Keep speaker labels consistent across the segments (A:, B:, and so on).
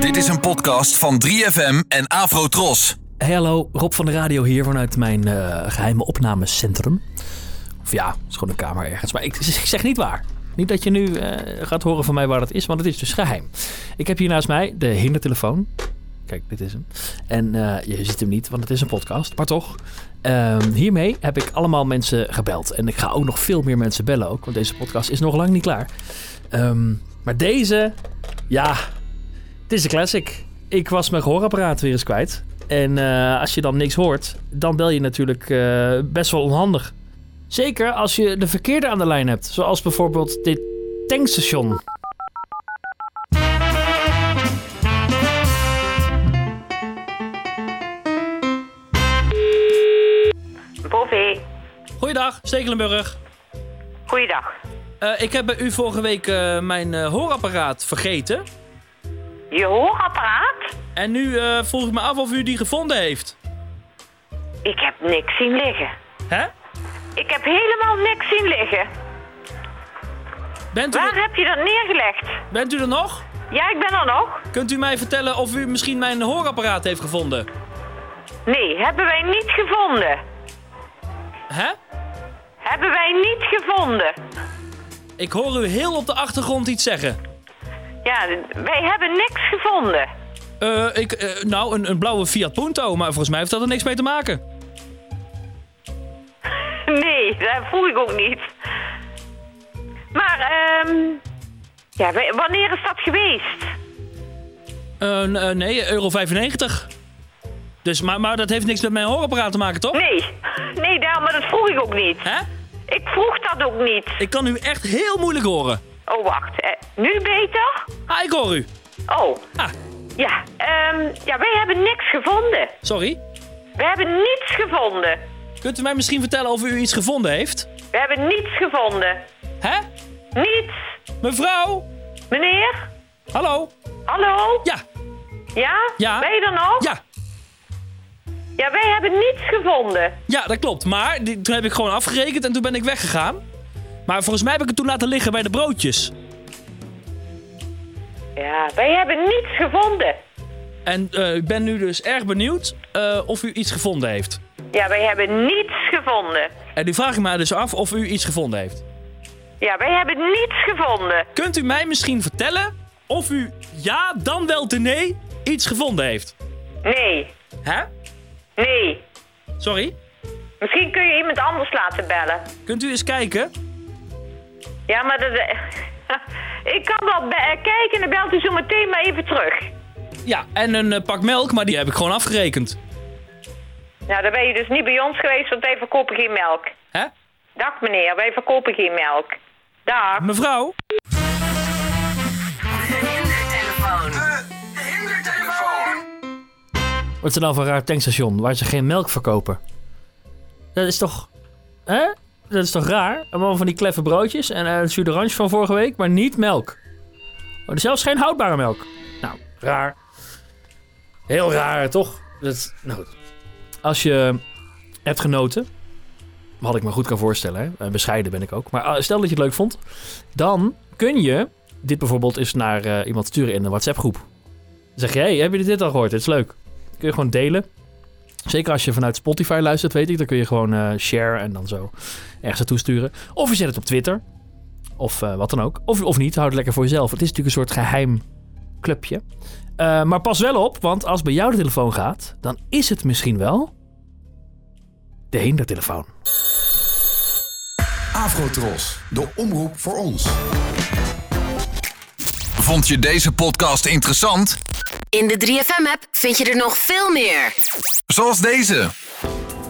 A: Dit is een podcast van 3FM en Afrotros.
B: Hey, hallo, Rob van de Radio hier vanuit mijn eh, geheime opnamecentrum. Of ja, het is gewoon een kamer ergens. Maar ik, ik zeg niet waar. Niet dat je nu eh, gaat horen van mij waar dat is, want het is dus geheim. Ik heb hier naast mij de hindertelefoon. Kijk, dit is hem. En eh, je ziet hem niet, want het is een podcast, maar toch. Ehm, hiermee heb ik allemaal mensen gebeld. En ik ga ook nog veel meer mensen bellen ook, want deze podcast is nog lang niet klaar. Ehm, maar deze, ja, het is een classic. Ik was mijn gehoorapparaat weer eens kwijt. En eh, als je dan niks hoort, dan bel je natuurlijk eh, best wel onhandig. Zeker als je de verkeerde aan de lijn hebt. Zoals bijvoorbeeld dit tankstation.
C: Bovi,
B: Goeiedag, Stekelenburg.
C: goeiedag.
B: Eh, ik heb bij u vorige week eh, mijn eh, hoorapparaat vergeten.
C: Je hoorapparaat?
B: En nu eh, vroeg ik me af of u die gevonden heeft.
C: Ik heb niks zien liggen.
B: Hè?
C: Ik heb helemaal niks zien liggen.
B: Bent u,
C: Waar
B: er,
C: heb je dat neergelegd?
B: bent u er nog?
C: Ja, ik ben er nog.
B: Kunt u mij vertellen of u misschien mijn hoorapparaat heeft gevonden?
C: Nee, hebben wij niet gevonden.
B: Hè?
C: Hebben wij niet gevonden.
B: Ik hoor u heel op de achtergrond iets zeggen.
C: Ja, wij hebben niks gevonden.
B: Eh, ik, eh, nou, een, een blauwe Fiat Punto, maar volgens mij heeft dat er niks mee te maken.
C: Nee, dat voel ik ook niet. Maar, ehm... Ja, wij- wanneer is dat geweest?
B: Eh, n- eh, nee, euro 95. Dus, maar, maar dat heeft niks met mijn hoorapparaat te maken, toch?
C: Nee. Nee, daar, maar dat vroeg ik ook niet.
B: Hè?
C: Ik vroeg dat ook niet.
B: Ik kan u echt heel moeilijk horen.
C: Oh, wacht. eh, nu beter?
B: Ah, ik hoor u.
C: Oh,
B: Ah,
C: Ja, ehm, ja, wij hebben niks gevonden.
B: sorry.
C: We hebben niets gevonden.
B: Kunt u mij misschien vertellen of u iets gevonden heeft?
C: We hebben niets gevonden.
B: Hè?
C: Niets.
B: Mevrouw?
C: Meneer?
B: Hallo?
C: Hallo?
B: Ja,
C: Ja?
B: Ja.
C: Ben je er nog?
B: ja.
C: Ja, wij hebben niets gevonden.
B: Ja, dat klopt. Maar die, toen heb ik gewoon afgerekend en toen ben ik weggegaan. Maar volgens mij heb ik het toen laten liggen bij de broodjes.
C: Ja, wij hebben niets gevonden.
B: En eh, ik ben nu dus erg benieuwd eh, of u iets gevonden heeft.
C: Ja, wij hebben niets gevonden.
B: En nu vraag ik me dus af of u iets gevonden heeft.
C: Ja, wij hebben niets gevonden.
B: Kunt u mij misschien vertellen of u ja, dan wel te nee iets gevonden heeft?
C: Nee,
B: Hè?
C: nee.
B: Sorry?
C: Misschien kun je iemand anders laten bellen.
B: Kunt u eens kijken?
C: Ja, maar dat... eh, Ik kan wel be- eh, kijken en dan belt u zo meteen maar even terug.
B: Ja, en een eh, pak melk, maar die heb ik gewoon afgerekend.
C: Nou, dan ben je dus niet bij ons geweest, want wij verkopen geen melk.
B: Hè?
C: Dag meneer, wij verkopen geen melk. Dag.
B: Mevrouw? Wat is er nou voor een raar tankstation waar ze geen melk verkopen? Dat is toch... Hè? Dat is toch raar? Allemaal van die kleffe broodjes en eh, een jus d'orange van vorige week, maar niet melk. Oh, dus zelfs geen houdbare melk. Nou, raar. Heel raar, toch? Dat, nou, goed. als je hebt genoten, wat ik me goed kan voorstellen, hè? Eh, bescheiden ben ik ook. Maar eh, stel dat je het leuk vond, dan kun je dit bijvoorbeeld eens naar eh, iemand sturen in een WhatsApp-groep. Dan zeg je, hey, heb je dit al gehoord? Dit is leuk. Kun je gewoon delen. Zeker als je vanuit Spotify luistert, weet ik. Dan kun je gewoon eh, share en dan zo ergens naartoe sturen. Of je zet het op Twitter. Of eh, wat dan ook. Of, of niet, houd het lekker voor jezelf. Het is natuurlijk een soort geheim clubje. Eh, maar pas wel op, want als bij jou de telefoon gaat, dan is het misschien wel de hindertelefoon.
D: Afrotros, de omroep voor ons.
A: Vond je deze podcast interessant?
E: In de 3FM-app vind je er nog veel meer.
A: Zoals deze.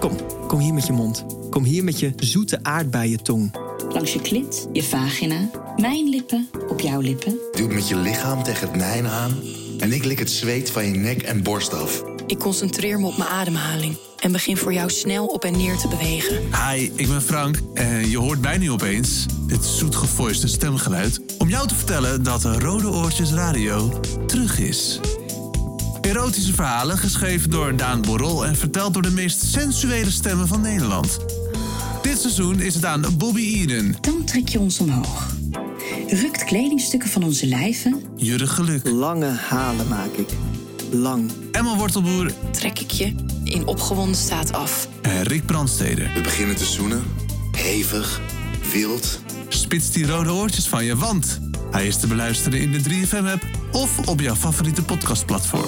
F: Kom, kom hier met je mond. Kom hier met je zoete aardbeientong.
G: Langs je klit, je vagina, mijn lippen op jouw lippen.
H: Duw met je lichaam tegen het mijn aan en ik lik het zweet van je nek en borst af.
I: Ik concentreer me op mijn ademhaling en begin voor jou snel op en neer te bewegen.
J: Hi, ik ben Frank en je hoort mij nu opeens, dit zoetgevoiste stemgeluid, om jou te vertellen dat Rode Oortjes Radio terug is. Erotische verhalen geschreven door Daan Borrel en verteld door de meest sensuele stemmen van Nederland. Dit seizoen is het aan Bobby Eden,
G: Dan trek je ons omhoog. rukt kledingstukken van onze lijven
J: Jurre geluk.
F: Lange halen maak ik. Lang.
J: Emma Wortelboer
I: trek ik je in opgewonden staat af.
J: en Rick Brandsteder.
H: We beginnen te zoenen. Hevig, wild.
J: Spits die rode oortjes van je, want hij is te beluisteren in de 3FM-app of op jouw favoriete podcastplatform.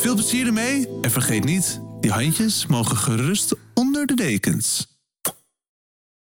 J: Veel plezier ermee en vergeet niet, die handjes mogen gerust onder de dekens.